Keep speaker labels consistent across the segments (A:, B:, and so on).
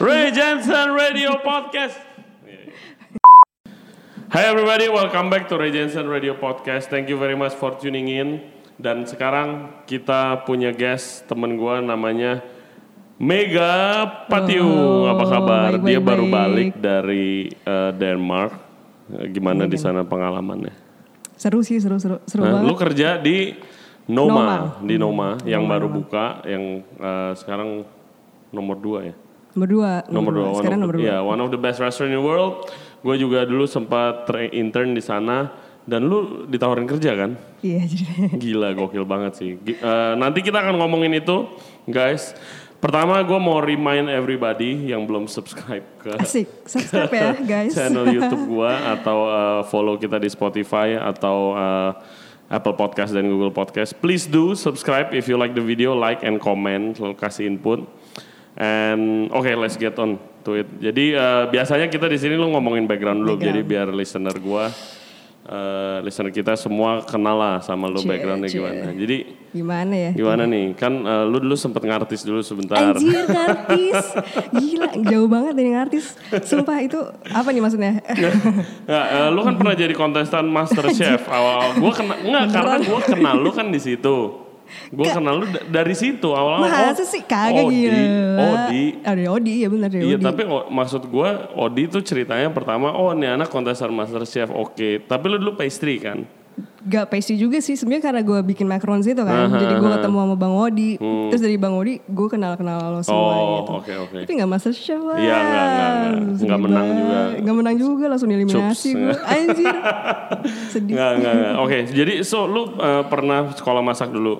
A: Ray Jensen Radio Podcast. Hi everybody, welcome back to Ray Jensen Radio Podcast. Thank you very much for tuning in. Dan sekarang kita punya guest temen gue namanya Mega Patiu.
B: Oh,
A: Apa kabar?
B: baik,
A: Dia
B: baik,
A: baru
B: baik.
A: balik dari eh, Denmark. Eh, Gimana di sana pengalamannya?
B: Seru sih, seru seru Iya. seru
A: Nah,
B: banget.
A: lu kerja di Noma,
B: Noma.
A: di Noma yang baru buka, yang eh, sekarang nomor dua ya.
B: Nomor dua,
A: Nomor dua,
B: Iya, Sekarang
A: one
B: nomor
A: of,
B: dua.
A: yeah, one of the best restaurant in the world. Gue juga dulu sempat tra- intern di sana dan lu ditawarin kerja kan?
B: Iya, jadi
A: Gila, gokil banget sih. Gi- eh, nanti kita akan ngomongin itu, guys. Pertama, gue mau remind everybody yang belum subscribe ke
B: asik. Subscribe ya, guys.
A: channel YouTube gua atau uh, follow kita di Spotify atau uh, Apple Podcast dan Google Podcast. Please do subscribe if you like the video, like and comment, Lo kasih input. And okay, let's get on to it. Jadi uh, biasanya kita di sini lo ngomongin background dulu,
B: Background.
A: jadi biar listener gua, uh, listener kita semua kenal lah sama lo
B: Cie,
A: backgroundnya
B: cie.
A: gimana. Jadi
B: Gimana ya?
A: gimana nih? Kan uh, lu dulu sempet ngartis dulu sebentar.
B: Anjir artis Gila jauh banget dari artis Sumpah itu Apa nih maksudnya
A: Ya, eh, lu kan pernah jadi kontestan Master Chef awal-awal. Gua kena enggak karena gua kenal lu kan di situ. Gua kenal lu da- dari situ awal-awal.
B: Masa sih kagak
A: Oh, Odi,
B: gila
A: Odi.
B: Ada Odi ya bener dari
A: Iya,
B: Odi
A: tapi o- maksud gua Odi tuh ceritanya pertama oh nih anak kontestan Master Chef oke. Tapi lu dulu pastry kan.
B: Gak pastry juga sih sebenarnya karena gue bikin macarons itu kan Jadi gue ketemu sama Bang Odi Terus dari Bang Odi gue kenal-kenal lo semua
A: Hmm. Oh,
B: gitu
A: oke, oke.
B: Tapi gak master chef lah
A: Iya, nggak, nggak, nggak.
B: Sedih
A: Nggak menang
B: banget.
A: juga.
B: Nggak menang juga langsung dieliminasi
A: Cups,
B: gue Anjir Sedih
A: Enggak, enggak, enggak. Oke, jadi so lu eh, pernah sekolah masak dulu.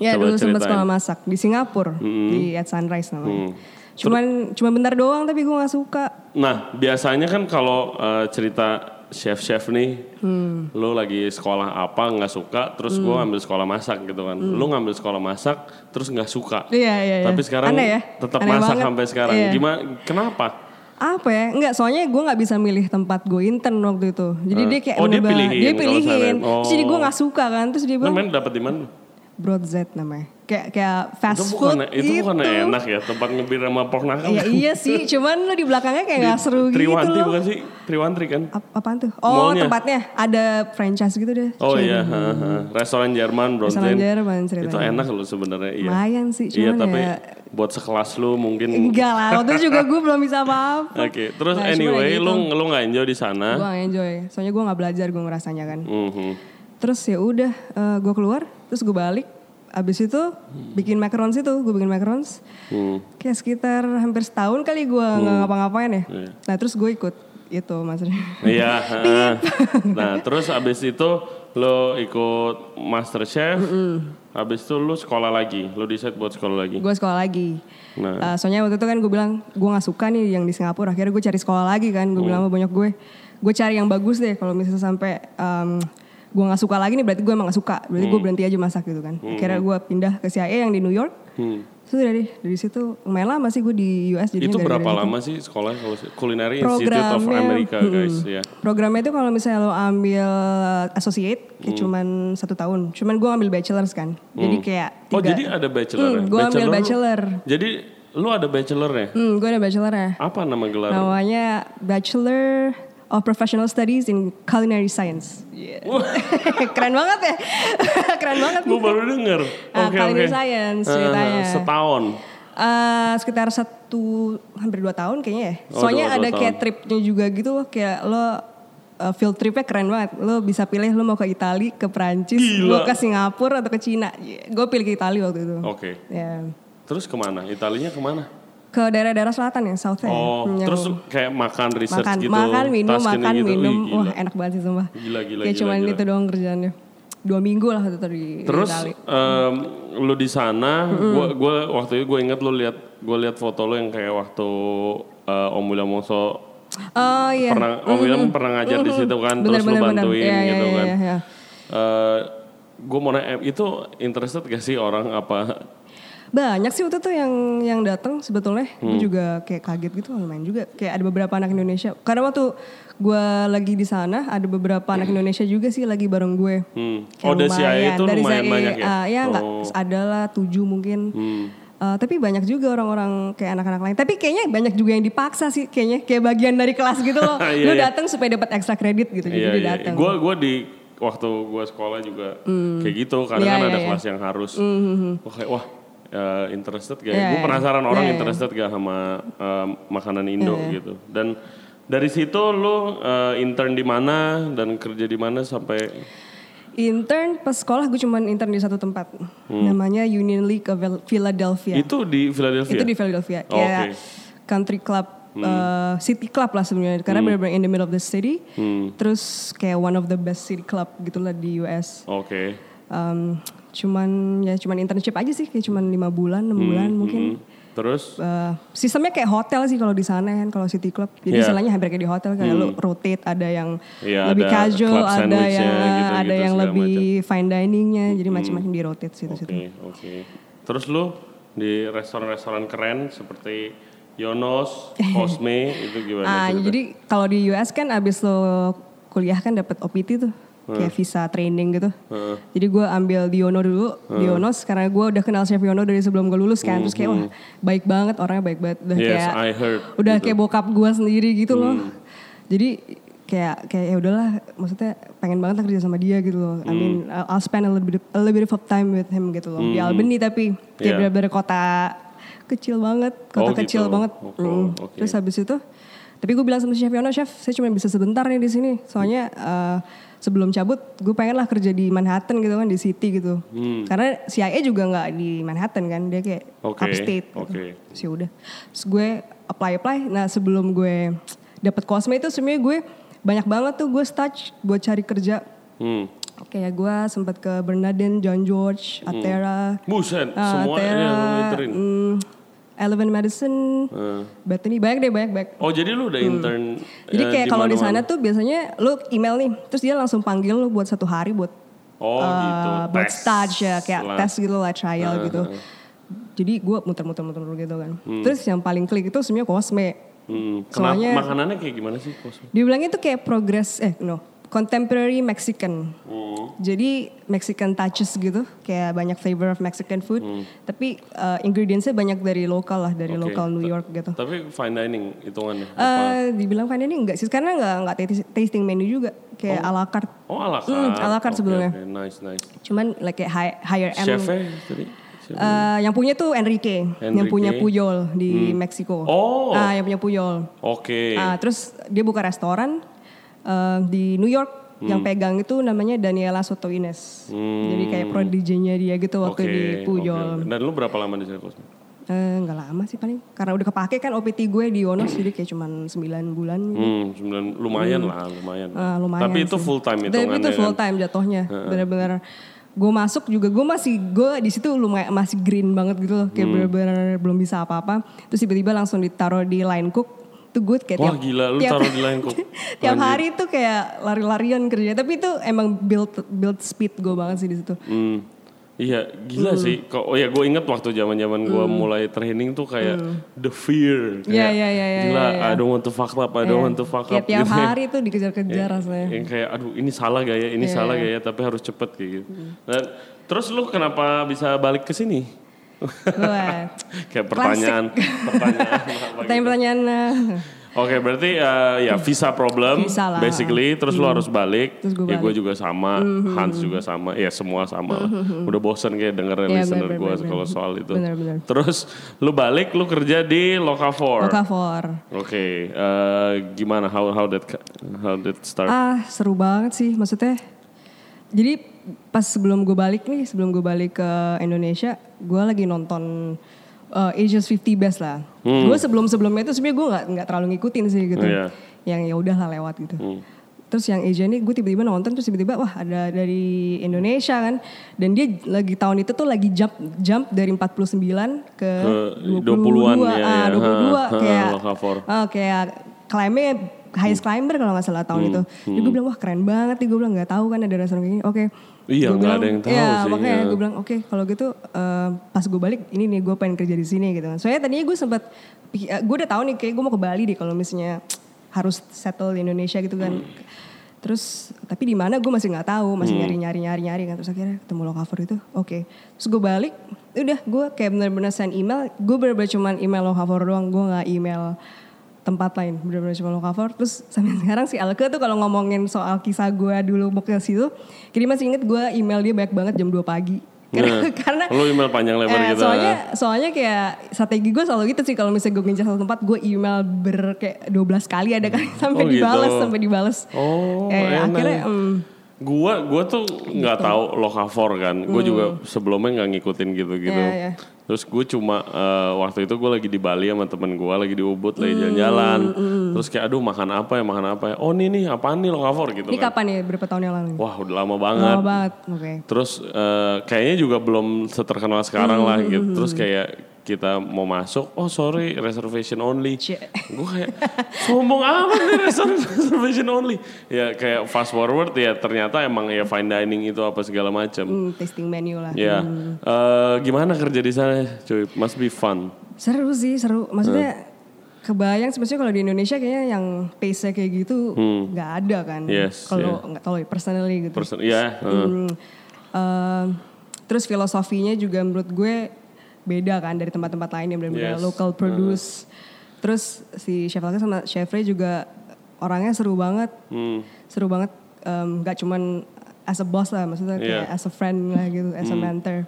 B: Ya
A: Coba
B: dulu sempat
A: ceritain. Mm.
B: sekolah masak di Singapura Di At Sunrise namanya Cuman cuma bentar doang tapi gue gak suka
A: Nah, biasanya kan kalau eh, cerita chef-chef nih,
B: Hmm.
A: lu lagi sekolah apa nggak suka, terus gua ngambil sekolah masak gitu kan. Lu ngambil sekolah masak, terus nggak suka.
B: Hmm. Iya iya iya
A: Tapi sekarang
B: Aneh ya?
A: tetap
B: Aneh
A: masak
B: banget.
A: sampai sekarang.
B: Iya.
A: Gimana? Kenapa?
B: apa ya enggak soalnya gue nggak bisa milih tempat gue intern waktu itu jadi dia kayak
A: Oh, dia
B: menebak-
A: pilihin
B: dia
A: kalau
B: pilihin
A: saran. Oh.
B: Terus jadi gue nggak suka kan terus dia
A: Lu
B: bilang
A: main dapat di mana?
B: broad Z namanya kayak kayak fast
A: Itu
B: food gitu.
A: bukan e- itu, bukan enak ya tempat ngebir sama pork knuckle.
B: ya iya sih cuman lu di belakangnya kayak nggak seru gitu
A: Triwanti
B: loh
A: bukan sih? Triwanti kan?
B: Ap- apaan tuh oh
A: Mallnya.
B: tempatnya ada franchise gitu deh
A: Oh iya, ha, ha. restoran Jerman, Bronzen.
B: Restoran Jerman
A: Itu
B: ceritanya.
A: enak loh sebenarnya. Iya.
B: Lumayan sih,
A: Iya,
B: cuman
A: tapi
B: ya- Iya,
A: buat sekelas lu mungkin
B: enggak lah waktu itu juga gue belum bisa apa-apa
A: Oke, terus
B: Nah, cuman
A: anyway,
B: kayak
A: lu
B: gitu.
A: lu nggak enjoy di sana?
B: gue gak enjoy soalnya gue nggak belajar gue ngerasanya kan
A: Mhm.
B: terus ya udah eh, gue keluar terus gue balik abis itu bikin macarons itu gue bikin macarons
A: Hmm.
B: kayak sekitar hampir setahun kali gue nggak ngapa-ngapain ya
A: Iya.
B: nah terus gue ikut itu maksudnya
A: Iya. heeh. nah, terus abis itu lu ikut Master Chef. Abis itu lu sekolah lagi. Lu decide buat sekolah lagi.
B: gue sekolah lagi
A: Nah.
B: Eh, soalnya waktu itu kan gue bilang gue nggak suka nih yang di Singapura akhirnya gue cari sekolah lagi kan gue bilang sama
A: Hmm.
B: banyak gue gue cari yang bagus deh kalau misalnya sampai em, gue nggak suka lagi nih berarti gue emang nggak suka berarti
A: Hmm.
B: gue berhenti aja masak gitu kan akhirnya gue pindah ke CIA yang di New York Terus dari dari situ lumayan lama sih gue di US
A: hmm. itu
B: jadinya gara-gara
A: berapa
B: itu.
A: lama sih sekolah kalau Culinary Institute of
B: Programnya,
A: America, guys, ya.
B: Programnya itu kalau misalnya lo ambil associate kayak
A: Hmm.
B: cuman satu tahun. Cuman gue ambil bachelor's kan. Jadi kayak tiga.
A: Oh, jadi ada bachelor ya?
B: Hmm, gue ambil
A: lu-
B: bachelor.
A: Jadi lu ada bachelornya?
B: Hmm, gue ada bachelornya.
A: Apa nama gelar?
B: Namanya Bachelor of Professional Studies in Culinary Science. Yeah. Keren banget ya. Keren banget.
A: Gue baru denger.
B: Ah,
A: Oke,
B: culinary
A: oke.
B: science
A: Ah,
B: ceritanya.
A: setahun.
B: Eh, sekitar satu hampir dua tahun kayaknya ya.
A: Oh,
B: Soalnya
A: dua- dua
B: ada kayak
A: tahun.
B: tripnya juga gitu loh, kayak lo eh, field tripnya keren banget. Lo bisa pilih lo mau ke Italia, ke Perancis,
A: Gila. Oh.
B: lo ke Singapura atau ke Cina. Gue pilih ke Italia waktu itu.
A: Oke.
B: Ya.
A: Terus kemana? Italinya kemana?
B: Ke daerah-daerah selatan ya, South
A: Oh, terus kayak makan research
B: makan,
A: gitu.
B: makan, minum,
A: tasking
B: makan,
A: gitu. Wih,
B: minum.
A: gila.
B: Wah enak banget sih sumpah.
A: Gila, gila,
B: Kayak
A: gila,
B: cuman
A: gila.
B: itu doang kerjaannya. Dua minggu lah waktu itu di
A: Terus
B: Italia.
A: em, lu di sana, gua gua waktu itu gue inget lu lihat gua lihat foto lu yang kayak waktu eh, Om William Wongso
B: Oh iya.
A: pernah Om William pernah ngajar di situ kan,
B: Bener,
A: terus
B: bener,
A: lu
B: bener.
A: bantuin
B: Iya, iya,
A: gitu
B: iya,
A: kan. Eh,
B: iya.
A: gue mau nanya, itu interested gak sih orang apa
B: Banyak sih waktu itu yang yang datang sebetulnya.
A: Hmm.
B: Gue juga kayak kaget gitu oh, lumayan juga. Kayak ada beberapa anak Indonesia. Karena waktu gue lagi di sana ada beberapa anak Indonesia juga sih lagi bareng gue.
A: Hmm.
B: Kayak
A: Oh, dari CIA itu
B: Dari
A: lumayan
B: CIA,
A: banyak ya?
B: ah, ya nggak
A: Oh.
B: ada lah tujuh mungkin.
A: Hmm.
B: Eh, tapi banyak juga orang-orang kayak anak-anak lain. Tapi kayaknya banyak juga yang dipaksa sih kayaknya kayak bagian dari kelas gitu loh.
A: Iya,
B: Lu
A: iya.
B: datang supaya dapat ekstra kredit gitu. Jadi dia datang.
A: Gue gue iya, di waktu gue sekolah juga kayak gitu. Karena
B: Iya,
A: kan
B: iya,
A: ada
B: iya.
A: kelas yang harus.
B: Hmm.
A: Wah, kayak, wah eh, interested gak?
B: Iya,
A: gue
B: iya.
A: penasaran orang
B: Iya, iya.
A: interested gak sama eh, makanan Indo gitu. Dan dari situ lu eh, intern di mana dan kerja di mana sampai
B: Intern pas sekolah gue cuman intern di satu tempat. Namanya Union League of Philadelphia.
A: Hmm. itu di Philadelphia.
B: Iya. Itu di Philadelphia.
A: Oh,
B: kayak
A: oke. Hmm.
B: country club, eh, city club lah sebenarnya. Karena bener-bener in the middle of the city.
A: Hmm.
B: Terus kayak one of the best city club gitulah di US.
A: Oke.
B: Um, cuman ya cuman internship aja sih kayak cuman lima bulan, enam bulan mungkin.
A: Hmm. Terus
B: Eh, sistemnya kayak hotel sih kalau di sana kan kalau city club jadi
A: Iya. Hmm.
B: istilahnya hampir kayak di hotel kayak lu rotate ada yang
A: Iya,
B: lebih
A: ada
B: casual
A: club
B: ada
A: sandwich-nya
B: yang
A: gitu-gitu,
B: ada yang
A: segala Hmm.
B: lebih fine diningnya jadi macam-macam di rotate situ
A: Oke,
B: situ
A: oke. Terus lu di restoran-restoran keren seperti Yonos, Cosme itu
B: ah
A: gimana? cerita?
B: jadi kalau di US kan abis lo kuliah kan dapat OPT tuh kayak
A: Hmm.
B: visa training gitu
A: Heeh.
B: Jadi gue ambil Diono dulu,
A: Eh.
B: Dionos karena gue udah kenal Chef Yono dari sebelum gue lulus kan, terus kayak wah baik banget orangnya baik banget, udah
A: Mm-hmm. Yes,
B: kayak
A: I heard,
B: udah
A: gitu. Mm.
B: kayak bokap gue sendiri gitu loh. Jadi kayak kayak ya udahlah, maksudnya pengen banget lah kerja sama dia gitu loh. I mean
A: Mm.
B: I'll I'll spend a little bit a little bit of time with him gitu loh di Albany tapi kayak
A: Mm-hmm. Yeah.
B: bener-bener kota kecil banget,
A: Oh,
B: kota
A: gitu.
B: kecil banget.
A: Oh,
B: Mm.
A: oke.
B: Terus habis itu tapi gue bilang sama Chef Yono, Chef, saya cuma bisa sebentar nih di sini. Soalnya eh, sebelum cabut, gue pengen lah kerja di Manhattan gitu kan, di city gitu. Karena CIA juga nggak di Manhattan kan, dia kayak
A: Hmm. Oke,
B: upstate. Gitu.
A: oke.
B: Terus yaudah. Terus gue apply apply. Nah sebelum gue dapet Cosme itu sebenarnya gue banyak banget tuh gue touch buat cari kerja.
A: Hmm.
B: Kayak gue sempat ke Bernardin, John George, Atera,
A: Buset, Hmm.
B: Ah,
A: semua
B: Tera,
A: ini lu interin.
B: mm, Eleven Medicine,
A: Eh.
B: Bethany, banyak deh banyak banyak.
A: Oh, jadi lu udah intern.
B: Hmm. Jadi
A: eh,
B: kayak kalau di
A: mana-mana?
B: sana tuh biasanya lu email nih, terus dia langsung panggil lu buat satu hari buat
A: Oh,
B: eh,
A: gitu.
B: buat
A: Tes
B: stage ya, kayak
A: lah.
B: tes gitu lah, trial gitu. Jadi gue muter-muter-muter gitu kan. Terus yang paling klik itu sebenarnya Cosme.
A: Hmm. Kenapa
B: Soalnya-
A: makanannya kayak gimana sih, Cosme?
B: Dibilangnya tuh kayak progress, eh no, contemporary Mexican.
A: Hmm,
B: Jadi Mexican touches gitu, kayak banyak flavor of Mexican food. Tapi eh, ingredients-nya banyak dari lokal lah, dari
A: Hmm. Oke.
B: lokal New York gitu.
A: Tapi fine dining hitungannya. apa?
B: Eh dibilang fine dining enggak sih karena enggak enggak tati- tasting menu juga kayak ala carte.
A: Oh, ala carte.
B: Hmm, ala carte
A: Oke,
B: sebelumnya.
A: oke, Nice, nice.
B: Cuman like kayak high- higher end.
A: Chef-nya tadi? chef-
B: Eh, yang punya tuh Enrique, yang
A: Enrique.
B: punya Puyol di Meksiko.
A: Oh.
B: Ah, yang punya Puyol.
A: Oke.
B: Ah, terus dia buka restoran eh, di New York.
A: Hmm.
B: Yang pegang itu namanya Daniela Soto Ines. Jadi kayak prodiginya dia gitu waktu
A: Oke,
B: di
A: oke,
B: Puyol.
A: oke. Dan lu berapa lama di sana, Cosme?
B: Eh, nggak lama sih paling karena udah kepake kan OPT gue di Yonos jadi kayak cuman 9 bulan gitu.
A: Hmm, sembilan lumayan lah, lumayan.
B: Ah, lumayan
A: Tapi itu
B: sih.
A: full time kan? itu
B: Tapi itu full time jatuhnya. Bener-bener gue masuk juga gue masih gue di situ lumayan masih green banget gitu loh
A: Hmm.
B: kayak bener-bener belum bisa apa-apa terus tiba-tiba langsung ditaruh di line cook tuh gue kayak
A: Wah
B: tiap-
A: gila, lu
B: tiap-
A: taruh di line cook.
B: tiap
A: Anjir.
B: hari tuh kayak lari-larian kerja tapi itu emang build build speed gue banget sih di situ
A: Hmm. Iya, gila
B: Hmm.
A: sih. Kok oh ya gue inget waktu zaman-zaman gue mulai training tuh kayak
B: Hmm.
A: the fear. Kayak,
B: Iya, iya, iya, iya,
A: Gila,
B: iya, iya.
A: I don't want to fuck up, I don't want to fuck up.
B: kayak Ya. tiap
A: gitu. Iya.
B: hari tuh dikejar-kejar rasanya
A: Yang kayak aduh ini salah gak ya, ini salah gak ya, tapi harus cepet kayak gitu.
B: Hmm.
A: Dan, terus lu kenapa bisa balik ke sini?
B: Wah,
A: kayak pertanyaan, pertanyaan apa gitu.
B: pertanyaan-pertanyaan eh,
A: Oke, berarti eh, ya visa problem
B: Visa lah. Hmm.
A: basically terus lu harus balik.
B: Terus gua Hmm.
A: ya gue juga sama, Hans juga sama, ya semua sama. lah. Udah bosen kayak denger
B: Iya,
A: listener
B: hmm, bener,
A: gue
B: bener,
A: kalau
B: bener.
A: soal itu.
B: Bener, bener.
A: Terus lu balik lu kerja di Locafor.
B: Okafor
A: Oke, eh, gimana how how that how that start?
B: Ah seru banget sih maksudnya. Jadi pas sebelum gue balik nih, sebelum gue balik ke Indonesia, gue lagi nonton uh, Asia's 50 Best lah. Gue sebelum sebelumnya itu sebenarnya gue nggak nggak terlalu ngikutin sih gitu.
A: Hmm. Iya. Hmm.
B: Yang ya udahlah lewat gitu. Terus yang Asia ini gue tiba-tiba nonton terus tiba-tiba wah ada dari Indonesia kan. Dan dia lagi tahun itu tuh lagi jump jump dari 49 ke
A: Ke
B: 22.
A: 20-an, ya,
B: ah,
A: ya.
B: 22
A: Ha, ha,
B: kayak
A: Locafor.
B: Oh, kayak klaimnya ah, highest climber kalau nggak salah
A: Hmm,
B: tahun itu. Jadi gue bilang wah keren banget nih gue bilang nggak tahu kan ada restoran kayak gini. Oke.
A: Iya,
B: Gue
A: nggak
B: bilang,
A: ada yang tahu
B: "Iya,
A: sih,
B: Makanya
A: iya.
B: gue bilang oke kalau gitu eh, pas gue balik ini nih gue pengen kerja di sini gitu kan. Soalnya tadinya gue sempat gue eh, udah tahu nih kayak gue mau ke Bali deh kalau misalnya harus settle di Indonesia gitu kan. Terus tapi di mana gue masih nggak tahu, masih nyari-nyari nyari-nyari kan terus akhirnya ketemu lo cover itu. Oke. Terus gue balik, udah gue kayak bener-bener send email, gue bener-bener cuman email lo cover doang, gue nggak email tempat lain bener-bener cuma lo cover terus sampai sekarang si Alke tuh kalau ngomongin soal kisah gue dulu mau ke situ jadi masih inget gue email dia banyak banget jam 2 pagi karena,
A: Nah,
B: karena
A: lu email panjang lebar
B: eh,
A: gitu.
B: soalnya soalnya kayak strategi gue selalu gitu sih kalau misalnya gue ngincar satu tempat gue email ber kayak 12 kali ada kali sampai
A: Oh, gitu.
B: dibales sampai dibales
A: Oh,
B: Eh,
A: enak.
B: akhirnya em,
A: Gua gua tuh nggak tahu lokavor kan. Gue juga sebelumnya nggak ngikutin gitu-gitu.
B: Iya, iya.
A: Terus gue cuma eh, waktu itu gue lagi di Bali sama temen gue lagi di Ubud lagi jalan-jalan. Terus kayak aduh makan apa ya makan apa ya. Oh ini nih apaan nih lokavor gitu
B: ini
A: kan.
B: kapan ya berapa tahun yang lalu
A: Wah udah lama banget.
B: lama banget oke
A: Terus eh, kayaknya juga belum seterkenal sekarang lah gitu. Terus kayak kita mau masuk, oh sorry reservation only.
B: Cie.
A: Gue kayak sombong amat nih reser- reservation only. Ya kayak fast forward ya ternyata emang ya fine dining itu apa segala macam.
B: Hmm, tasting menu lah
A: Ya Eh, gimana kerja di sana cuy? Must be fun.
B: Seru sih, seru. Maksudnya
A: Hmm.
B: kebayang sebenarnya kalau di Indonesia kayaknya yang pace kayak gitu nggak ada kan.
A: Hmm. Yes,
B: kalau nggak tahu ya, personally gitu.
A: Person, ya. eh.
B: Hmm. Ehm, terus filosofinya juga menurut gue beda kan dari tempat-tempat lain yang benar-benar
A: Yes. Uh-huh.
B: local produce. Terus si Chef Alka sama Chef Ray juga orangnya seru banget.
A: Hmm.
B: Seru banget Ehm, nggak cuman as a boss lah maksudnya kayak as a friend lah gitu, as
A: Hmm.
B: a mentor.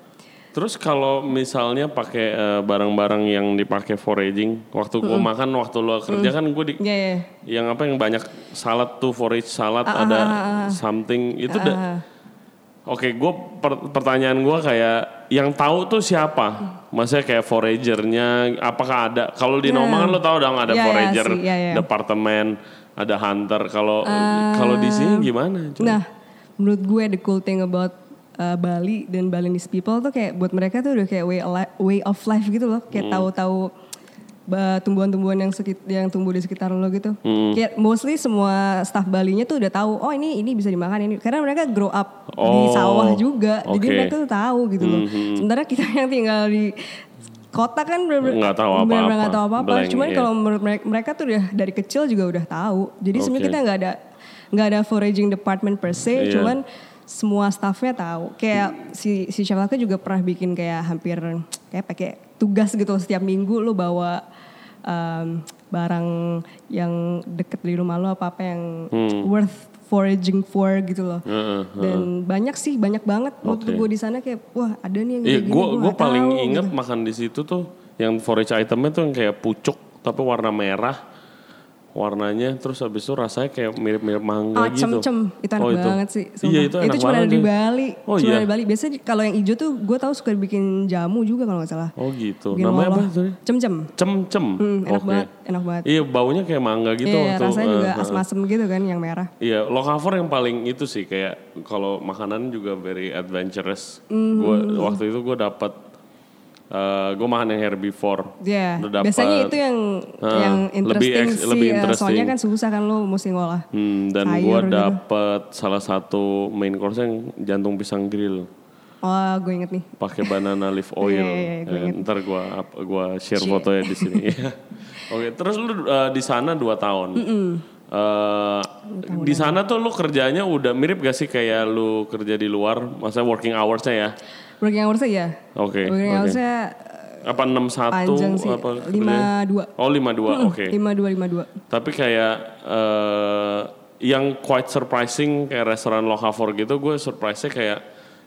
A: Terus kalau misalnya pakai eh, barang-barang yang dipakai foraging, waktu gue makan, waktu lo kerja kan gue di,
B: Iya, iya.
A: yang apa yang banyak salad tuh forage salad
B: Ah,
A: ada something itu da- oke gue pertanyaan gue kayak yang tahu tuh siapa maksudnya kayak foragernya apakah ada kalau di
B: Ya.
A: Noma kan lo tahu dong ada
B: Ya, ya,
A: forager
B: sih, ya, Ah. ya.
A: departemen ada hunter kalau kalau di sini gimana cuy?
B: Nah, menurut gue the cool thing about uh, Bali dan Balinese people tuh kayak buat mereka tuh udah kayak way, ali- way of life gitu loh,
A: Hmm.
B: kayak tahu-tahu ba- tumbuhan-tumbuhan yang sekit- yang tumbuh di sekitar lo gitu.
A: Hmm.
B: Kayak mostly semua staff Balinya tuh udah tahu, oh ini ini bisa dimakan ini karena mereka grow up
A: Oh,
B: di sawah juga. Jadi
A: oke. Hmm,
B: mereka tuh tahu gitu loh. Sementara kita yang tinggal di kota kan bener-bener
A: Nggak tahu
B: bener-bener
A: apa-apa.
B: nggak tahu apa-apa.
A: Blank,
B: Cuman
A: iya.
B: kalau menurut mereka, mereka tuh udah dari kecil juga udah tahu. Jadi sebenarnya
A: Oke.
B: kita nggak ada nggak ada foraging department per se,
A: Iya.
B: cuman semua staffnya tahu. Kayak si si Chef Laka juga pernah bikin kayak hampir kayak pakai tugas gitu setiap minggu lu bawa um, barang yang deket di rumah lu apa apa yang
A: Hmm.
B: worth foraging for gitu loh.
A: Heeh,
B: Dan banyak sih, banyak banget.
A: Uh-huh.
B: Waktu
A: Oke.
B: gue di sana kayak wah ada nih yang
A: Iya,
B: kayak gini,
A: gue
B: gua
A: gue
B: nggak
A: paling
B: tahu, gitu.
A: inget makan di situ tuh yang forage itemnya tuh yang kayak pucuk tapi warna merah warnanya terus habis itu rasanya kayak mirip-mirip mangga
B: Ah,
A: gitu.
B: cem-cem. Itu enak
A: Oh,
B: banget sih. sumpah.
A: Iya itu enak
B: cuma
A: banget
B: ada di
A: tuh.
B: Bali.
A: Oh,
B: cuma
A: iya?
B: ada di Bali. Biasanya di- kalau yang hijau tuh gue tahu suka bikin jamu juga kalau nggak salah.
A: Oh gitu.
B: Bikin
A: Namanya apa
B: loloh.
A: tadi?
B: Cem-cem.
A: Cem-cem.
B: Hmm, enak
A: Oke.
B: banget, enak banget.
A: Iya baunya kayak mangga gitu
B: Iya,
A: waktu.
B: rasanya
A: eh,
B: juga
A: eh.
B: asem-asem gitu kan yang merah.
A: Iya, lokavor yang paling itu sih kayak kalau makanan juga very adventurous.
B: Hmm.
A: Gua waktu itu gue dapat eh gue makan yang herbivore.
B: Iya.
A: Udah dapat-
B: Biasanya itu yang
A: Ah,
B: yang
A: lebih
B: interesting
A: ex-
B: sih.
A: lebih
B: ya. Soalnya
A: interesting.
B: kan susah kan lo mesti ngolah.
A: Hmm, dan
B: Sayur
A: gua
B: gitu.
A: dapet salah satu main course yang jantung pisang grill
B: Oh, gue inget nih.
A: pakai banana leaf oil.
B: Iya, iya, iya, gua
A: Eh, ntar gua up- gua share fotonya di sini. Iya. Oke, terus lu eh, di sana 2 tahun. Eh, di sana tuh lu kerjanya udah mirip gak sih kayak lu kerja di luar, masa working hours-nya ya?
B: Working hours-nya ya.
A: Oke. oke.
B: Working hours-nya
A: Apa 61
B: panjang sih.
A: apa
B: Lima
A: kerjanya?
B: dua. Hmm,
A: Oh, 52. Oke.
B: lima dua lima dua.
A: Tapi kayak eh, yang quite surprising kayak restoran Lokavor gitu, gue surprise-nya kayak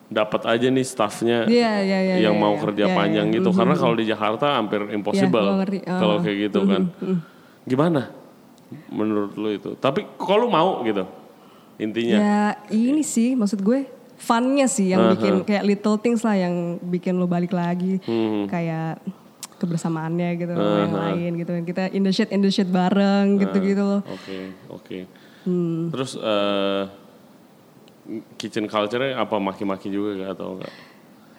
A: dapat aja nih staffnya
B: Iya, iya, iya,
A: yang
B: iya,
A: mau
B: iya.
A: kerja
B: Iya, iya,
A: panjang
B: iya.
A: gitu. Karena kalau di Jakarta hampir impossible
B: Iya, gua ngerti. Ah.
A: kalau kayak gitu kan.
B: mhm.
A: Gimana menurut lu itu? Tapi kalau lu mau gitu intinya.
B: Ya ini
A: iya.
B: sih maksud gue funnya sih yang bikin kayak little things lah yang bikin lo balik lagi
A: Hmm.
B: kayak kebersamaannya gitu sama yang lain gitu kan kita in the shit in the shit
A: Nah.
B: bareng gitu gitu loh.
A: Oke, oke.
B: Hmm.
A: Terus eh kitchen culture-nya apa maki-maki juga nggak atau enggak?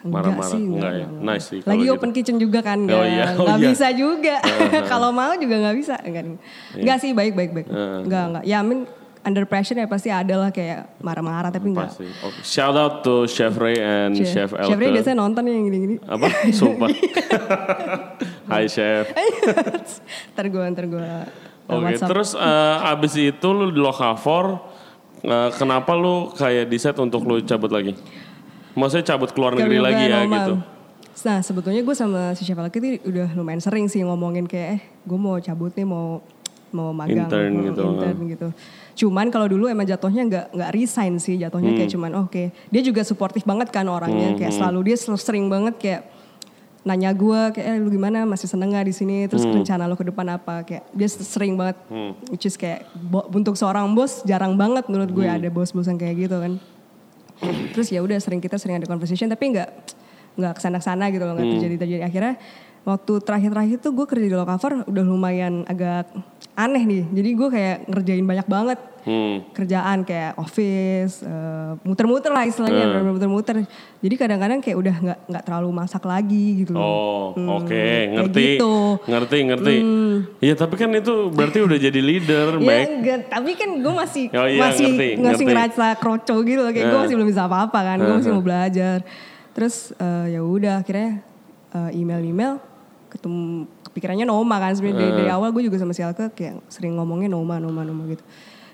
A: Marah-marah,
B: sih,
A: enggak ya. Nice sih
B: Lagi
A: kalau
B: open kitchen juga kan,
A: Oh
B: enggak,
A: iya, oh
B: enggak
A: iya.
B: bisa juga. Kalau mau juga enggak bisa, enggak. Enggak sih, baik baik baik. Enggak, enggak. Ya, I mean, under pressure ya pasti ada lah kayak marah-marah tapi enggak.
A: Pasti. Oke. Oh, Shout out to Chef Ray and
B: Cie.
A: Chef Elke.
B: Chef Ray biasanya nonton yang gini-gini.
A: apa? Sumpah. Hai Chef.
B: Eh, ntar gue, ntar gue.
A: Oke,
B: WhatsApp.
A: terus eh, abis itu lu di Lokavor, eh, kenapa lu kayak diset untuk lu cabut lagi? Maksudnya cabut keluar negeri
B: Keluarga
A: lagi ya
B: Roma.
A: gitu?
B: Nah sebetulnya gue sama si Chef Alki itu udah lumayan sering sih ngomongin kayak eh gue mau cabut nih mau mau magang
A: Intern
B: mau
A: gitu,
B: intern gitu. Cuman kalau dulu emang jatuhnya nggak nggak resign sih jatuhnya
A: Hmm.
B: kayak cuman oke dia juga suportif banget kan orangnya kayak selalu dia sel- sering banget kayak nanya gue kayak eh, lu gimana masih seneng gak di sini terus
A: Hmm.
B: rencana lo ke depan apa kayak dia sering banget which is kayak bo- untuk seorang bos jarang banget menurut gue
A: Hmm.
B: ada bos-bos yang kayak gitu kan terus ya udah sering kita sering ada conversation tapi nggak nggak kesana kesana gitu loh nggak terjadi terjadi akhirnya waktu terakhir terakhir tuh gue kerja di lokaver udah lumayan agak aneh nih jadi gue kayak ngerjain banyak banget
A: Hmm.
B: kerjaan kayak office eh, muter-muter lah istilahnya bener-bener muter-muter jadi kadang-kadang kayak udah nggak nggak terlalu masak lagi gitu loh
A: Oh,
B: Hmm,
A: oke,
B: kayak
A: ngerti,
B: gitu. Hmm.
A: ngerti, ngerti. Ya tapi kan itu berarti udah jadi leader,
B: Ya,
A: baik.
B: enggak, tapi kan gue masih
A: Oh iya,
B: masih
A: ngerti,
B: masih
A: ngerti.
B: ngerasa kroco gitu loh kayak gue masih belum bisa apa-apa kan gue masih mau belajar terus eh, ya udah akhirnya eh, email-email ketemu kepikirannya Noma kan sebenarnya dari, dari awal gue juga sama si Alke kayak sering ngomongnya Noma Noma Noma gitu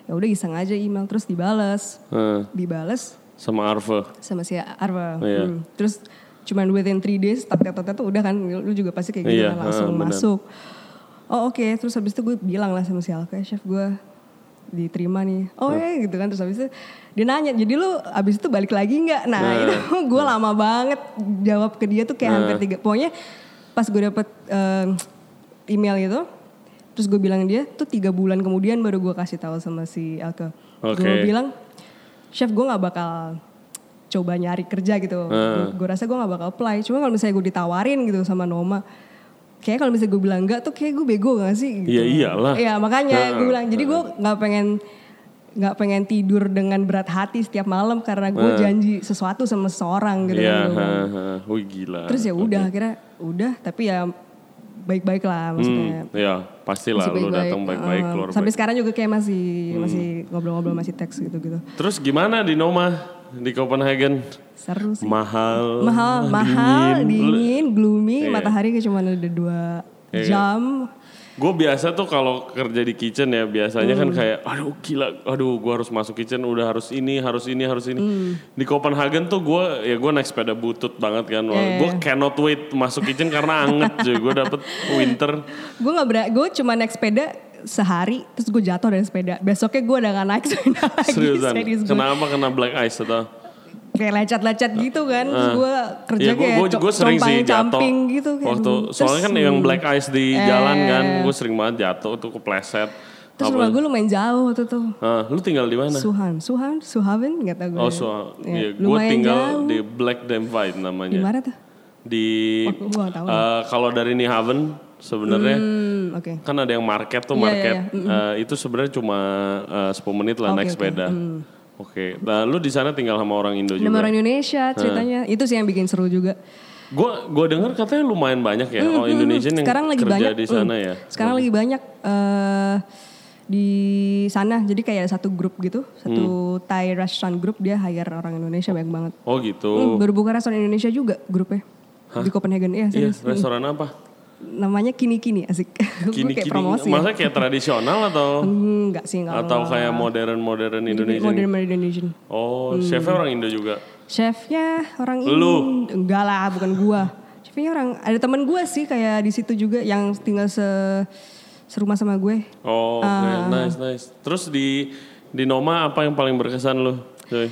B: ya udah iseng aja email terus dibales
A: Eh,
B: dibales
A: sama Arve.
B: sama si Arwa
A: Iya.
B: Hmm. terus cuman within 3 days tat tat tat tat, udah kan lu juga pasti kayak gitu
A: Iya,
B: kan, langsung
A: ah, benar.
B: masuk oh oke terus habis itu gue bilang lah sama si Alka chef gue diterima nih oh ya gitu kan terus habis itu dia nanya jadi lu habis itu balik lagi nggak nah, itu gue lama banget jawab ke dia tuh kayak hampir
A: Nah.
B: tiga pokoknya pas gue dapet em, email itu terus gue bilang dia tuh tiga bulan kemudian baru gue kasih tahu sama si Alka gue
A: Oke.
B: bilang chef gue nggak bakal coba nyari kerja gitu gue rasa gue nggak bakal apply cuma kalau misalnya gue ditawarin gitu sama Noma kayak kalau misalnya gue bilang enggak tuh kayak gue bego gak sih gitu.
A: Iya, iyalah.
B: Iya makanya gue
A: Heeh.
B: bilang jadi gue nggak pengen nggak pengen tidur dengan berat hati setiap malam karena gue janji sesuatu sama seseorang gitu kan
A: Iya,
B: gua bilang.
A: heeh, heeh. wih gila.
B: terus ya udah akhirnya udah tapi ya baik-baik lah maksudnya
A: Ya pastilah
B: Masih
A: lu
B: baik-baik.
A: datang baik-baik
B: Eh,
A: keluar
B: sampai
A: baik. Hmm.
B: sekarang juga kayak masih masih ngobrol-ngobrol masih teks gitu-gitu
A: Terus gimana di Noma di Copenhagen?
B: seru sih
A: Mahal.
B: mahal mahal dingin, gloomy
A: Oh, Iya.
B: matahari kayak cuma ada dua
A: Iya.
B: jam
A: Gue biasa tuh kalau kerja di kitchen ya biasanya kan
B: Hmm.
A: kayak aduh gila, aduh gue harus masuk kitchen udah harus ini, harus ini, harus ini.
B: Hmm.
A: Di Copenhagen tuh gue ya gue naik sepeda butut banget kan.
B: Iya,
A: Gue
B: iya.
A: cannot wait masuk kitchen karena anget juga gue dapet winter.
B: gue nggak berani gue cuma naik sepeda sehari terus gue jatuh dari sepeda besoknya gue udah gak naik sepeda lagi
A: Seriusan.
B: serius gue
A: Kenapa kena black ice atau?
B: kayak lecet-lecet gitu kan terus gue kerja
A: Iya,
B: kayak
A: gue
B: co-
A: gue sering sih jatuh
B: compang-camping gitu kayak
A: waktu
B: aduh.
A: soalnya kan
B: Terus,
A: yang
B: hmm,
A: black ice di
B: Eh.
A: jalan kan gue sering banget jatuh tuh kepleset
B: terus rumah gue lumayan jauh waktu itu
A: Ah, lu tinggal di mana
B: Suhan Suhan Suhaven nggak tau gue
A: oh so
B: Ya,
A: iya, gue
B: lumayan
A: tinggal
B: jauh. Iya.
A: di black Demvite namanya
B: di mana tuh
A: di
B: Waktu gua nggak tahu.
A: eh, kalau dari New Haven sebenarnya
B: hmm oke
A: kan ada yang market tuh
B: Iya,
A: market
B: iya,
A: Eh, itu sebenarnya cuma eh, 10 menit lah
B: Oke, Mm.
A: naik
B: oke,
A: sepeda oke nah, lu di sana tinggal sama orang Indo
B: Nama
A: juga
B: orang Indonesia ceritanya itu sih yang bikin seru juga
A: gue gue dengar katanya lumayan banyak ya oh Indonesian yang
B: Hmm, sekarang lagi
A: kerja
B: banyak
A: di sana
B: mm.
A: ya
B: sekarang lagi banyak eh, di sana jadi kayak ada satu grup gitu
A: Hmm.
B: satu Thai restaurant group dia hire orang Indonesia banyak banget
A: Oh gitu.
B: Hmm, baru buka restoran Indonesia juga grupnya di Copenhagen iya
A: Iya,
B: serius
A: restoran apa?
B: namanya kini kini asik Gua
A: Kini
B: kayak
A: kini.
B: promosi ya.
A: Masa kayak tradisional atau
B: Hmm, nggak sih nggak
A: atau kayak modern modern Indonesia?
B: modern Hmm. Indonesian
A: Oh, chefnya orang Indo juga.
B: chefnya orang ini
A: Lu?
B: enggak lah bukan gua chefnya orang ada teman gua sih kayak di situ juga yang tinggal se serumah sama gue
A: Oh, oke.
B: Ah.
A: nice nice. Terus di di Noma apa yang paling berkesan lu? Joy?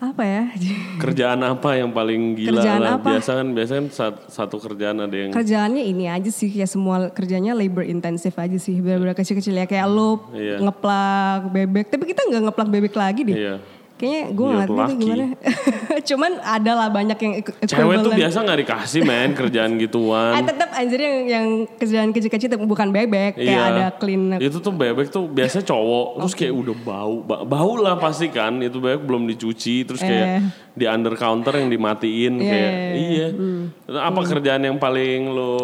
B: apa ya
A: Kerjaan apa yang paling gila
B: Kerjaan
A: lah?
B: apa?
A: Biasa kan biasanya kan sat- satu kerjaan ada yang
B: kerjaannya ini aja sih kayak semua kerjanya labor intensive aja sih bener-bener kecil-kecil ya kayak lo
A: Iya.
B: ngeplak bebek tapi kita nggak ngeplak bebek lagi deh
A: iya.
B: Kayaknya gue
A: Lihat
B: nggak ngerti deh
A: laki.
B: gimana. Cuman ada lah banyak yang equ-
A: Cewek tuh
B: equivalent.
A: biasa nggak dikasih men kerjaan
B: Eh
A: gituan.
B: tetap anjir yang yang kerjaan kecil-kecil tetep bukan bebek kayak ada clean
A: Iya. Itu tuh bebek tuh biasanya cowok, terus kayak udah bau, Ba- bau lah pasti kan. Itu bebek belum dicuci, terus kayak
B: Eh.
A: di under counter yang dimatiin
B: Iya,
A: kayak
B: iya, Hmm. iya.
A: iya. Apa kerjaan yang paling lo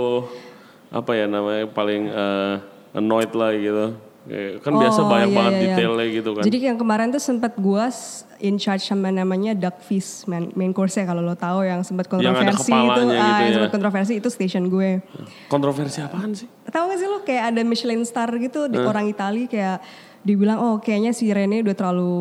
A: apa ya namanya paling eh, annoyed lah gitu. Kayak- Kan biasa
B: Oh,
A: banyak
B: iya,
A: banget
B: iya, iya.
A: detailnya gitu kan.
B: Jadi yang kemarin tuh sempat gua s- in charge sama namanya duck feast main, main course-nya kalau lo tahu yang sempat
A: Yang ada
B: kontroversi itu,
A: kepalanya gitu
B: ah, yang
A: ya.
B: sempat kontroversi itu station gue.
A: Kontroversi apaan sih?
B: Tahu gak sih lo kayak ada Michelin star gitu di orang Itali kayak dibilang oh kayaknya si Rene udah terlalu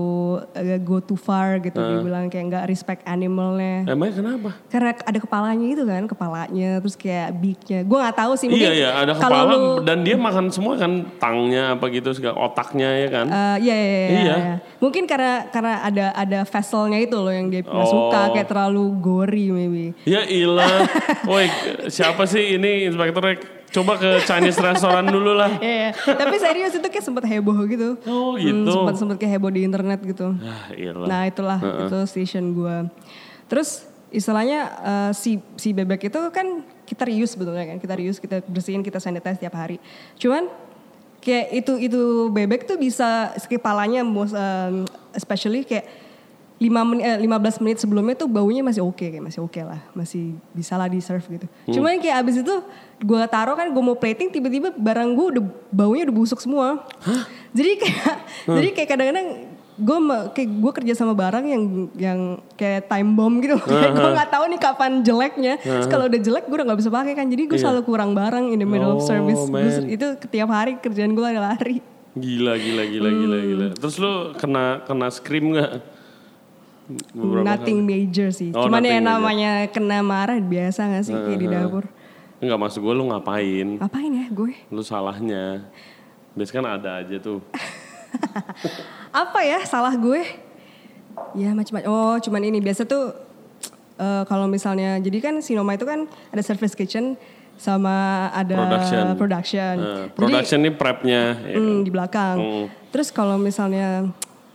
B: eh, go too far gitu dibilang kayak nggak respect animalnya.
A: Emangnya kenapa?
B: Karena ada kepalanya gitu kan, kepalanya terus kayak beaknya. Gue nggak tahu sih
A: iya
B: mungkin
A: iya ada
B: kalau
A: kepala
B: lu-
A: dan dia makan semua kan tangnya apa gitu segala otaknya ya kan.
B: Eh, iya, iya, iya,
A: Iya.
B: iya. Mungkin karena karena ada ada vesselnya itu loh yang dia nggak
A: Oh.
B: suka kayak terlalu gory maybe.
A: Ya ilah. Woi, siapa sih ini inspektornya? Coba ke Chinese restoran dulu lah.
B: Iya, iya. tapi serius itu kayak sempet heboh gitu.
A: Oh, gitu.
B: sempet sempet kayak heboh di internet gitu.
A: Ah, ilah.
B: Nah itulah itu station gua Terus istilahnya eh, si si bebek itu kan kita reuse sebetulnya kan kita reuse kita bersihin kita sanitize tiap hari. Cuman kayak itu itu bebek tuh bisa kepalanya most, em, especially kayak 5 menit, eh, 15 menit sebelumnya tuh baunya masih oke kayak masih oke lah masih bisa lah di serve gitu.
A: Hmm.
B: Cuman kayak abis itu gua taruh kan gue mau plating tiba-tiba barang gue udah baunya udah busuk semua. Jadi kayak
A: Hmm.
B: jadi kayak kadang-kadang gue kayak gue kerja sama barang yang yang kayak time
A: Hmm,
B: bomb gitu Kayak gue nggak tahu nih kapan jeleknya Terus kalau udah jelek gue udah nggak bisa pakai kan jadi gue selalu kurang barang in the middle of
A: Iya. Oh,
B: service Gua
A: man.
B: itu tiap hari kerjaan gue lari
A: Gila gila gila gila
B: Hmm.
A: gila. Terus lu kena kena scream nggak? Beberapa
B: nothing major sih
A: Oh,
B: cuman
A: nothing
B: ya
A: major.
B: namanya kena marah biasa nggak sih kayak di dapur
A: kali. Nggak masuk gue lu ngapain?
B: ngapain ya gue
A: Lu salahnya. Biasanya kan ada aja tuh.
B: apa ya salah gue ya macam-macam oh cuman ini biasa tuh eh, kalau misalnya jadi kan sinoma itu kan ada service kitchen sama ada
A: Production.
B: production,
A: Nah,
B: Jadi-
A: production ini prepnya. ya.
B: Hmm, di belakang. Terus kalau misalnya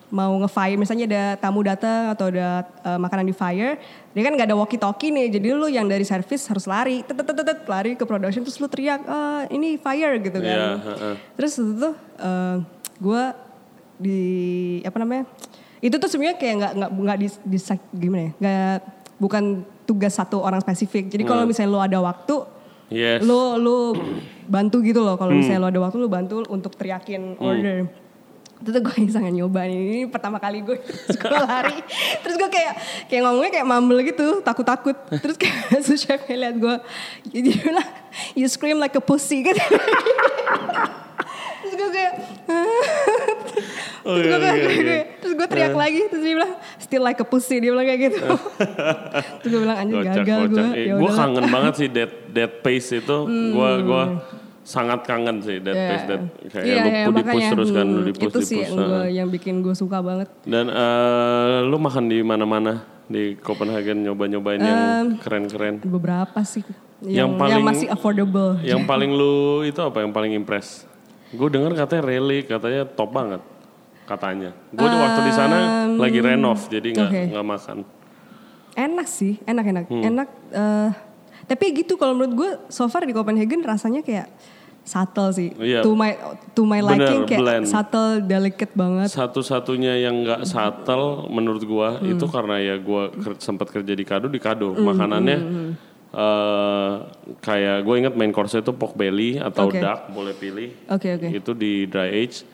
B: mau nge-fire, misalnya ada tamu datang atau ada eh, makanan di fire, dia kan nggak ada walkie talkie nih, jadi lu yang dari service harus lari, tet, tet, tet, tet, lari ke production terus lu teriak, "Eh, ini fire gitu kan.
A: Iya, heeh.
B: Terus itu tuh gue di apa namanya? Itu tuh sebenarnya kayak nggak nggak nggak di, di gimana ya? Nggak bukan tugas satu orang spesifik. Jadi
A: Hmm.
B: kalau misalnya lu ada waktu,
A: Yes.
B: lo lo bantu gitu loh
A: Hmm.
B: kalau misalnya lo ada waktu lo bantu untuk teriakin order itu tuh gue iseng nyoba nih ini pertama kali gue terus gue lari terus gue kayak kayak ngomongnya kayak mumble gitu takut takut terus kayak sous chef liat gue jadi bilang you scream like a pussy gitu terus gue kayak
A: Oh, iya,
B: terus gue kayak-
A: iya, iya.
B: kayak- terus gue teriak lagi terus dia bilang still like a pussy dia bilang kayak gitu terus gue bilang anjir
A: Kocak,
B: gagal gue
A: kocak. Eh,
B: ya
A: gua
B: udah Hmm.
A: kangen banget sih dead dead pace itu. Gua gua sangat kangen sih dead
B: Iya.
A: pace dead kayak
B: Iya,
A: lu
B: iya,
A: di push
B: makanya.
A: terus kan nah. lu
B: Hmm,
A: di push
B: itu sih yang, gua-
A: heeh.
B: yang bikin gue suka banget
A: Dan eh, lu makan di mana-mana di Copenhagen nyoba-nyobain yang keren-keren.
B: Ada beberapa sih
A: Yang
B: yang, yang,
A: paling-
B: masih affordable
A: Yang paling lu itu apa yang paling impress? Gue dengar katanya Rally katanya top banget katanya. Gue waktu di sana lagi renov jadi nggak
B: oke.
A: nggak makan.
B: enak sih enak enak
A: Hmm.
B: enak eh, tapi gitu kalau menurut gue so far di Copenhagen rasanya kayak subtle sih
A: Iya.
B: to my to
A: Bener,
B: my liking kayak
A: blend.
B: subtle delicate banget
A: Satu-satunya yang nggak satel menurut gua itu karena ya gua ker- sempat kerja di kado di kado makanannya eh, kayak gue inget main course itu pork belly atau
B: Oke.
A: duck boleh pilih
B: oke oke
A: itu di dry age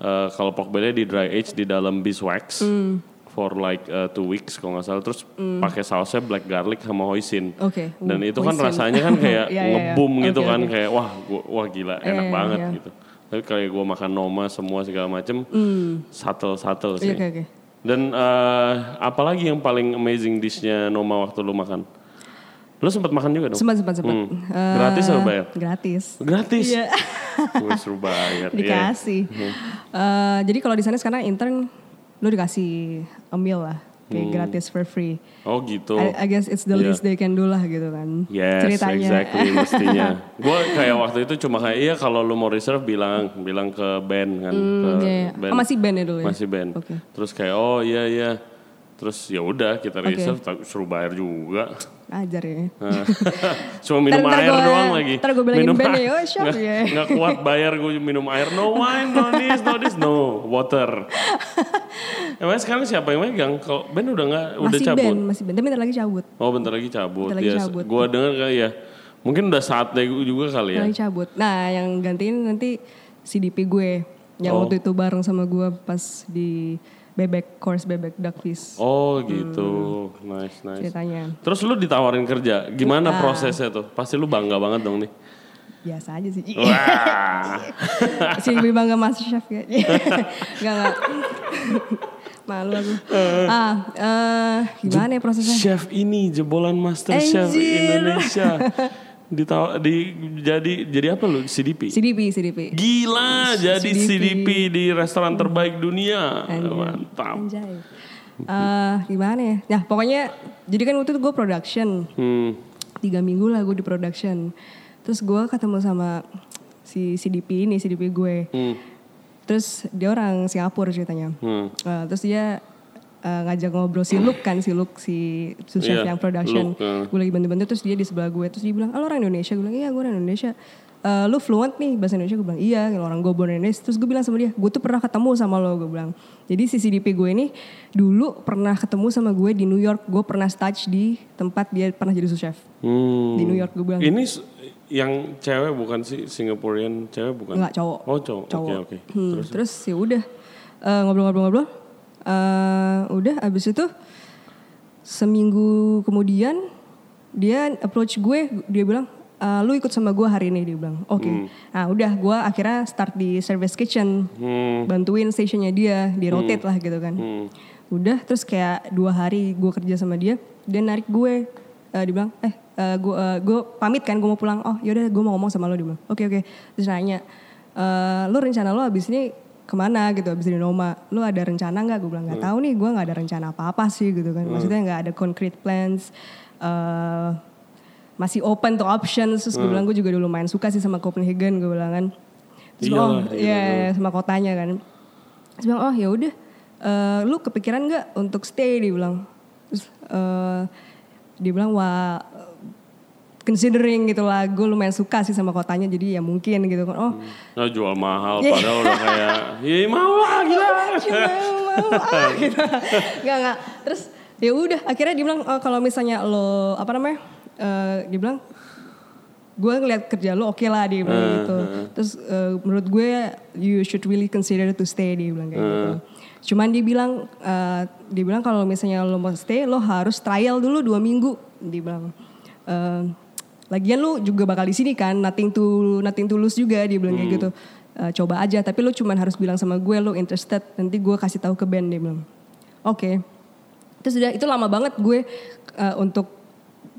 A: Eh, kalau pork belly di dry age di dalam beeswax
B: Mm.
A: for like eh, two weeks kalau nggak salah terus pakai sausnya black garlic sama hoisin
B: Oke.
A: dan
B: Uh,
A: itu kan
B: hoisin.
A: rasanya kan kayak
B: Iya, iya, iya.
A: ngebum gitu
B: Oke,
A: kan
B: oke.
A: kayak wah gua, wah gila enak
B: iya,
A: banget
B: iya.
A: gitu tapi kayak gue makan noma semua segala macem satel satel
B: Hmm. Iya,
A: sih
B: oke oke
A: dan eh, apalagi yang paling amazing dishnya noma waktu lu makan lu sempat makan juga dong
B: sempat sempat sempat
A: Hmm.
B: Eh,
A: Gratis apa bayar?
B: gratis
A: gratis
B: Iya.
A: Wih, seru banget iya.
B: dikasih Eh, jadi kalau di sana sekarang intern lu dikasih a meal lah kayak gratis for free.
A: Oh gitu.
B: I, I guess it's the
A: Hmm. Iya.
B: least they can do lah gitu kan.
A: Yes,
B: ceritanya.
A: exactly mestinya. Gue kayak waktu itu cuma kayak iya kalau lu mau reserve bilang bilang ke band kan ke
B: Iya, iya.
A: band.
B: Oh, masih band ya dulu ya.
A: Masih band.
B: Oke.
A: Terus kayak oh iya iya. Terus ya udah kita reserve tapi suruh bayar juga.
B: Ajar ya.
A: Nah, cuma minum
B: Ntar- ntar
A: air
B: gua-
A: doang lagi.
B: ntar gua bilangin
A: minum
B: band
A: air.
B: ya, oh, siap
A: Nggak-
B: ya.
A: nggak kuat bayar gue minum air. No wine, no this, no this, no water. Emangnya sekarang siapa yang megang? Kalau band udah nggak udah
B: masih
A: cabut.
B: band, masih band. Tapi bentar lagi cabut.
A: Oh bentar lagi cabut.
B: Bentar lagi
A: Yes.
B: cabut.
A: Gua dengar kayak ya. Mungkin udah saatnya gue juga kali ya.
B: Bentar lagi cabut. Nah, yang gantiin nanti CDP gue yang
A: Oh.
B: waktu itu bareng sama gue pas di Bebek Course Bebek Duckfish
A: Oh gitu. Nice nice.
B: ceritanya.
A: Terus lu ditawarin kerja, gimana prosesnya tuh? Pasti lu bangga banget dong nih.
B: Biasa aja sih.
A: Oh, Wah.
B: si lebih bangga Master Chef ya. Enggak enggak. Malu aku. Ah, eh, gimana ya prosesnya?
A: Chef ini jebolan Master Chef
B: Anjir.
A: Indonesia. Ditawa, di jadi jadi apa lu CDP?
B: CDP, CDP.
A: Gila, jadi CDP.
B: CDP.
A: di restoran terbaik dunia.
B: Anjay.
A: Mantap.
B: Anjay. Eh, gimana ya? Nah, pokoknya jadi kan waktu itu gue production.
A: Hmm.
B: Tiga minggu lah gue di production. Terus gue ketemu sama si CDP ini, CDP gue.
A: Hmm.
B: Terus dia orang Singapura ceritanya.
A: Hmm.
B: Eh, terus dia eh, ngajak ngobrol si Luke kan, si Luke si sous chef
A: Iya,
B: yang production.
A: Luke, eh.
B: Gue lagi bantu-bantu terus dia di sebelah gue. Terus dia bilang, ah, lo orang Indonesia? Gue bilang, iya gue orang Indonesia. "Eh, lu fluent nih bahasa Indonesia? Gue bilang, iya kalau orang gue born Indonesia. Terus gue bilang sama dia, gue tuh pernah ketemu sama lo. Gue bilang, jadi si CDP gue ini dulu pernah ketemu sama gue di New York. Gue pernah stage di tempat dia pernah jadi sous chef.
A: Hmm.
B: Di New York gue bilang,
A: Ini s- yang cewek bukan sih Singaporean cewek bukan?
B: Enggak, cowok.
A: Oh cowok. Oke
B: Cowok.
A: oke.
B: Hmm, terus ya udah Eh, ngobrol-ngobrol-ngobrol. Eh, udah abis itu seminggu kemudian dia approach gue, dia bilang "Eh, lu ikut sama gue hari ini dia bilang. Oke.
A: Hmm.
B: Nah, udah gue akhirnya start di service kitchen.
A: Hmm.
B: Bantuin stationnya dia, di rotate lah gitu kan. Udah terus kayak dua hari gue kerja sama dia, dia narik gue Eh, dia bilang eh gue pamit kan gue mau pulang oh yaudah gue mau ngomong sama lo dia bilang oke oke terus nanya "Eh, lo rencana lo abis ini kemana gitu abis dari Noma lo ada rencana nggak gue bilang
A: Hmm.
B: nggak tahu nih gue nggak ada rencana apa apa sih gitu kan maksudnya nggak ada concrete plans eh masih open to options terus gue
A: Hmm.
B: bilang gue juga dulu main suka sih sama Copenhagen gue bilang kan terus
A: Iyalah,
B: oh
A: iya,
B: iya iya, sama kotanya kan terus bilang oh ya udah eh, lu kepikiran nggak untuk stay dia bilang terus eh, dia bilang wah eh, considering gitu lah gue lumayan suka sih sama kotanya jadi ya mungkin gitu kan oh
A: Nah, jual mahal
B: Iya.
A: padahal udah kayak ya mau lah gila.
B: cuma mau ah gitu nggak nggak terus ya udah akhirnya dia bilang "Oh, kalau misalnya lo apa namanya eh, dia bilang gue ngeliat kerja lo oke lah dia bilang gitu terus eh, menurut gue you should really consider to stay dia bilang kayak gitu cuman dia bilang eh, dia bilang kalau misalnya lo mau stay lo harus trial dulu dua minggu dia bilang Eh, Lagian lu juga bakal di sini kan, nothing to nothing to lose juga dia bilang kayak gitu. E, coba aja, tapi lu cuman harus bilang sama gue lu interested, nanti gue kasih tahu ke band dia bilang. Oke. Terus udah itu lama banget gue e, untuk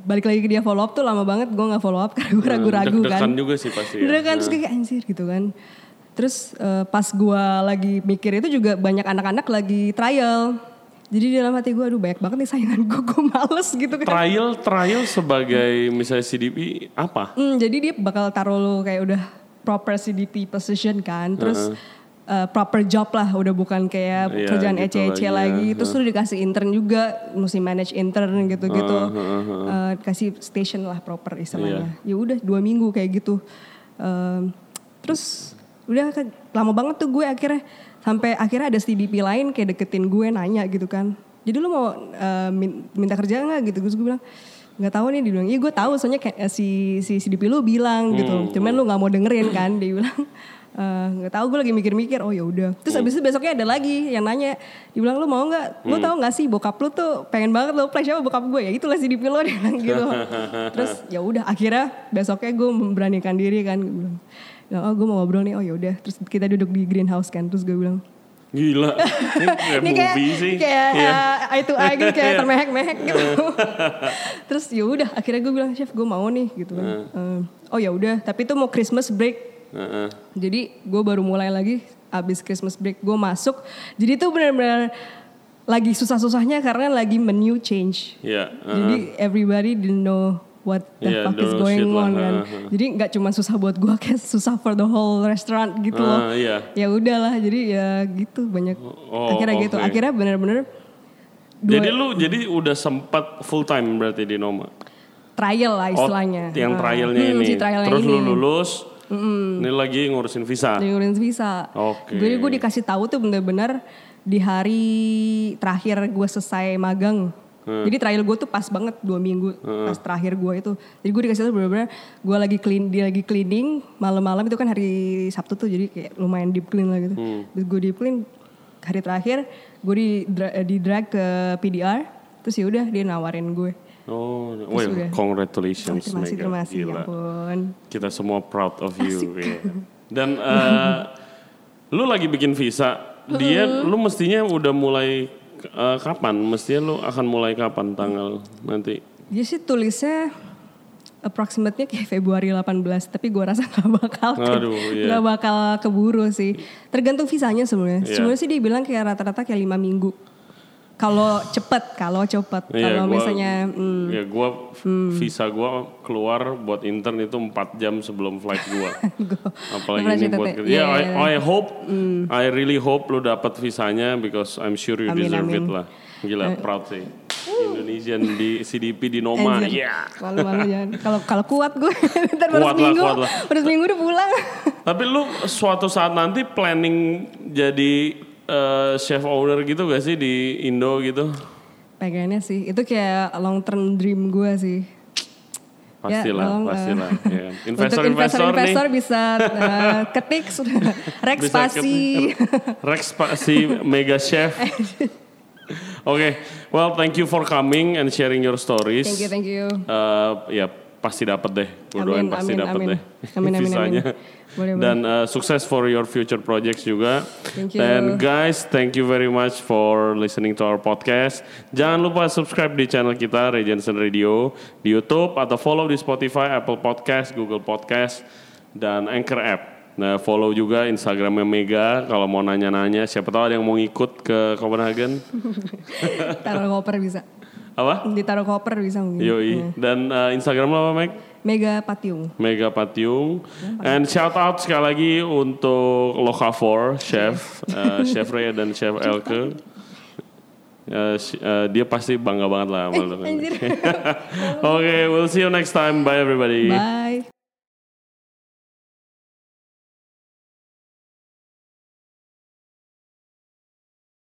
B: balik lagi ke dia follow up tuh lama banget gue nggak follow up karena gue ragu-ragu kan.
A: Hmm, Deg-degan juga sih pasti. Ya.
B: Bener kan terus kayak anjir gitu kan. Terus eh, pas gue lagi mikir itu juga banyak anak-anak lagi trial. Jadi dalam hati gue aduh banyak banget nih saingan gue, gue males gitu kan.
A: Trial trial sebagai misalnya CDP apa?
B: Hmm, jadi dia bakal taruh lo kayak udah proper CDP position kan, terus uh, proper job lah, udah bukan kayak
A: Iya,
B: kerjaan
A: gitu
B: ece-ece
A: lagi,
B: lagi, terus lu dikasih intern juga, mesti manage intern gitu-gitu, Uh, kasih station lah proper istilahnya. Ya udah dua minggu kayak gitu, Um, terus udah kan, lama banget tuh gue akhirnya sampai akhirnya ada CDP lain kayak deketin gue nanya gitu kan, jadi lu mau uh, min- minta kerja nggak gitu, terus gue bilang nggak tahu nih dibilang iya gue tahu soalnya kayak, eh, si si CDP lu bilang gitu cuman lu nggak mau dengerin kan dia bilang "Eh, nggak tahu gue lagi mikir-mikir oh ya udah terus abis itu besoknya ada lagi yang nanya dibilang lu mau nggak
A: Hmm.
B: lu tahu nggak sih bokap lu tuh pengen banget lu flash apa bokap gue ya itulah CDP lu dia bilang gitu terus ya udah akhirnya besoknya gue memberanikan diri kan gue bilang bilang, oh gue mau ngobrol nih oh ya udah terus kita duduk di greenhouse kan terus gue bilang
A: Gila. Ini kayak
B: ini kayak
A: movie sih.
B: kayak
A: Iya. Eh.
B: uh, eye to eye gitu kayak termehek-mehek gitu. Terus ya udah akhirnya gue bilang chef gue mau nih gitu kan. Eh, oh ya udah, tapi itu mau Christmas break.
A: Heeh.
B: Jadi gue baru mulai lagi abis Christmas break gue masuk. Jadi itu benar-benar lagi susah-susahnya karena lagi menu change.
A: Iya. uh-huh.
B: Jadi everybody didn't know what the
A: Iya,
B: fuck is
A: don't know
B: going
A: shit lah, Uh-huh.
B: on kan.
A: ha, ha.
B: Jadi nggak cuma susah buat gua kayak susah for the whole restaurant gitu loh.
A: Ah, iya.
B: Ya udahlah, jadi ya gitu banyak
A: Oh,
B: akhirnya gitu.
A: oke.
B: Akhirnya bener-bener dua
A: Jadi lu jadi udah sempat full time berarti di Noma.
B: trial lah
A: Oh,
B: istilahnya.
A: yang
B: Ha.
A: trialnya
B: Hmm,
A: ini.
B: si trialnya
A: Terus
B: ini. Iya.
A: lu lulus. Ini lagi ngurusin visa.
B: Dari Ngurus Visa.
A: Ah. Oke.
B: Jadi gue dikasih tahu tuh bener-bener di hari terakhir gue selesai magang.
A: Hmm.
B: Jadi trial gue tuh pas banget dua minggu pas terakhir gue itu. Jadi gue dikasih tahu bener-bener gue lagi clean dia lagi cleaning malam-malam itu kan hari Sabtu tuh jadi kayak lumayan deep clean lah gitu.
A: Hmm.
B: Terus gue deep clean hari terakhir gue di eh, di drag ke PDR terus ya udah dia nawarin gue.
A: Oh, well,
B: udah.
A: congratulations
B: Terima kasih,
A: Mega.
B: terima kasih, ya
A: Gila.
B: ampun.
A: Kita semua proud of you. iya. Dan eh, lu lagi bikin visa, dia lu mestinya udah mulai eh, kapan? Mestinya lu akan mulai kapan tanggal nanti?
B: Dia sih tulisnya approximately kayak Februari 18, tapi gua rasa nggak bakal ke-
A: Aduh, iya.
B: nggak bakal keburu sih. Tergantung visanya sebenarnya.
A: Iya.
B: Sebenarnya sih dia bilang kayak rata-rata kayak lima minggu. Kalau cepet, kalau cepet,
A: Iya,
B: kalau
A: gua-
B: misalnya hmm,
A: ya gua
B: Mm.
A: visa gua keluar buat intern itu 4 jam sebelum flight gua.
B: gua-
A: Apalagi
B: Pernah
A: ini
B: cerita
A: buat
B: teh.
A: kerja.
B: Iya,
A: Ya, I,
B: iya.
A: I hope, I really hope lu dapat visanya because I'm sure you
B: Amin,
A: deserve
B: amin. Eh.
A: it lah. Gila, proud sih. Indonesian di CDP di Noma,
B: Anjir.
A: yeah.
B: Malu-malu jangan. Kalau kalau kuat gue,
A: iya. Kuat
B: ntar baru
A: lah,
B: seminggu,
A: kuat lah.
B: baru seminggu udah pulang.
A: Tapi lu suatu saat nanti planning jadi eh, chef owner gitu gak sih di Indo gitu?
B: Pengennya sih, itu kayak long term dream gue sih. Ya,
A: Pastilah,
B: tolong, eh,
A: pastilah. ya.
B: Untuk
A: Investor-investor nih.
B: investor-investor bisa eh, ketik sudah Rex
A: Bisa ke-
B: Pasi.
A: Rex Pasi Mega Chef. Oke, well thank you for coming and sharing your stories.
B: Thank you, thank you.
A: Eh, ya pasti dapat deh. Gua doain
B: Amin,
A: pasti
B: amin,
A: dapat
B: amin.
A: deh.
B: Amin, amin,
A: Visanya.
B: amin. Boleh, boleh.
A: Dan eh, sukses for your future projects juga.
B: Thank you.
A: And guys, thank you very much for listening to our podcast. Jangan lupa subscribe di channel kita Regensen Radio di YouTube atau follow di Spotify, Apple Podcast, Google Podcast dan Anchor app. Nah, follow juga Instagramnya Mega kalau mau nanya-nanya. Siapa tahu ada yang mau ngikut ke Copenhagen.
B: Taruh koper bisa.
A: Apa?
B: Ditaruh koper bisa mungkin.
A: Yoi.
B: Ya.
A: Dan eh, Instagram lo apa, Meg?
B: Mega Patiung.
A: Mega Patiung. And shout out sekali lagi untuk Lokafor, chef, eh, chef Rea dan chef Elke. Eh, si- eh, dia pasti bangga banget lah sama lu. Oke,
B: Eh, Anjir.
A: we'll see you next time. Bye everybody.
B: Bye.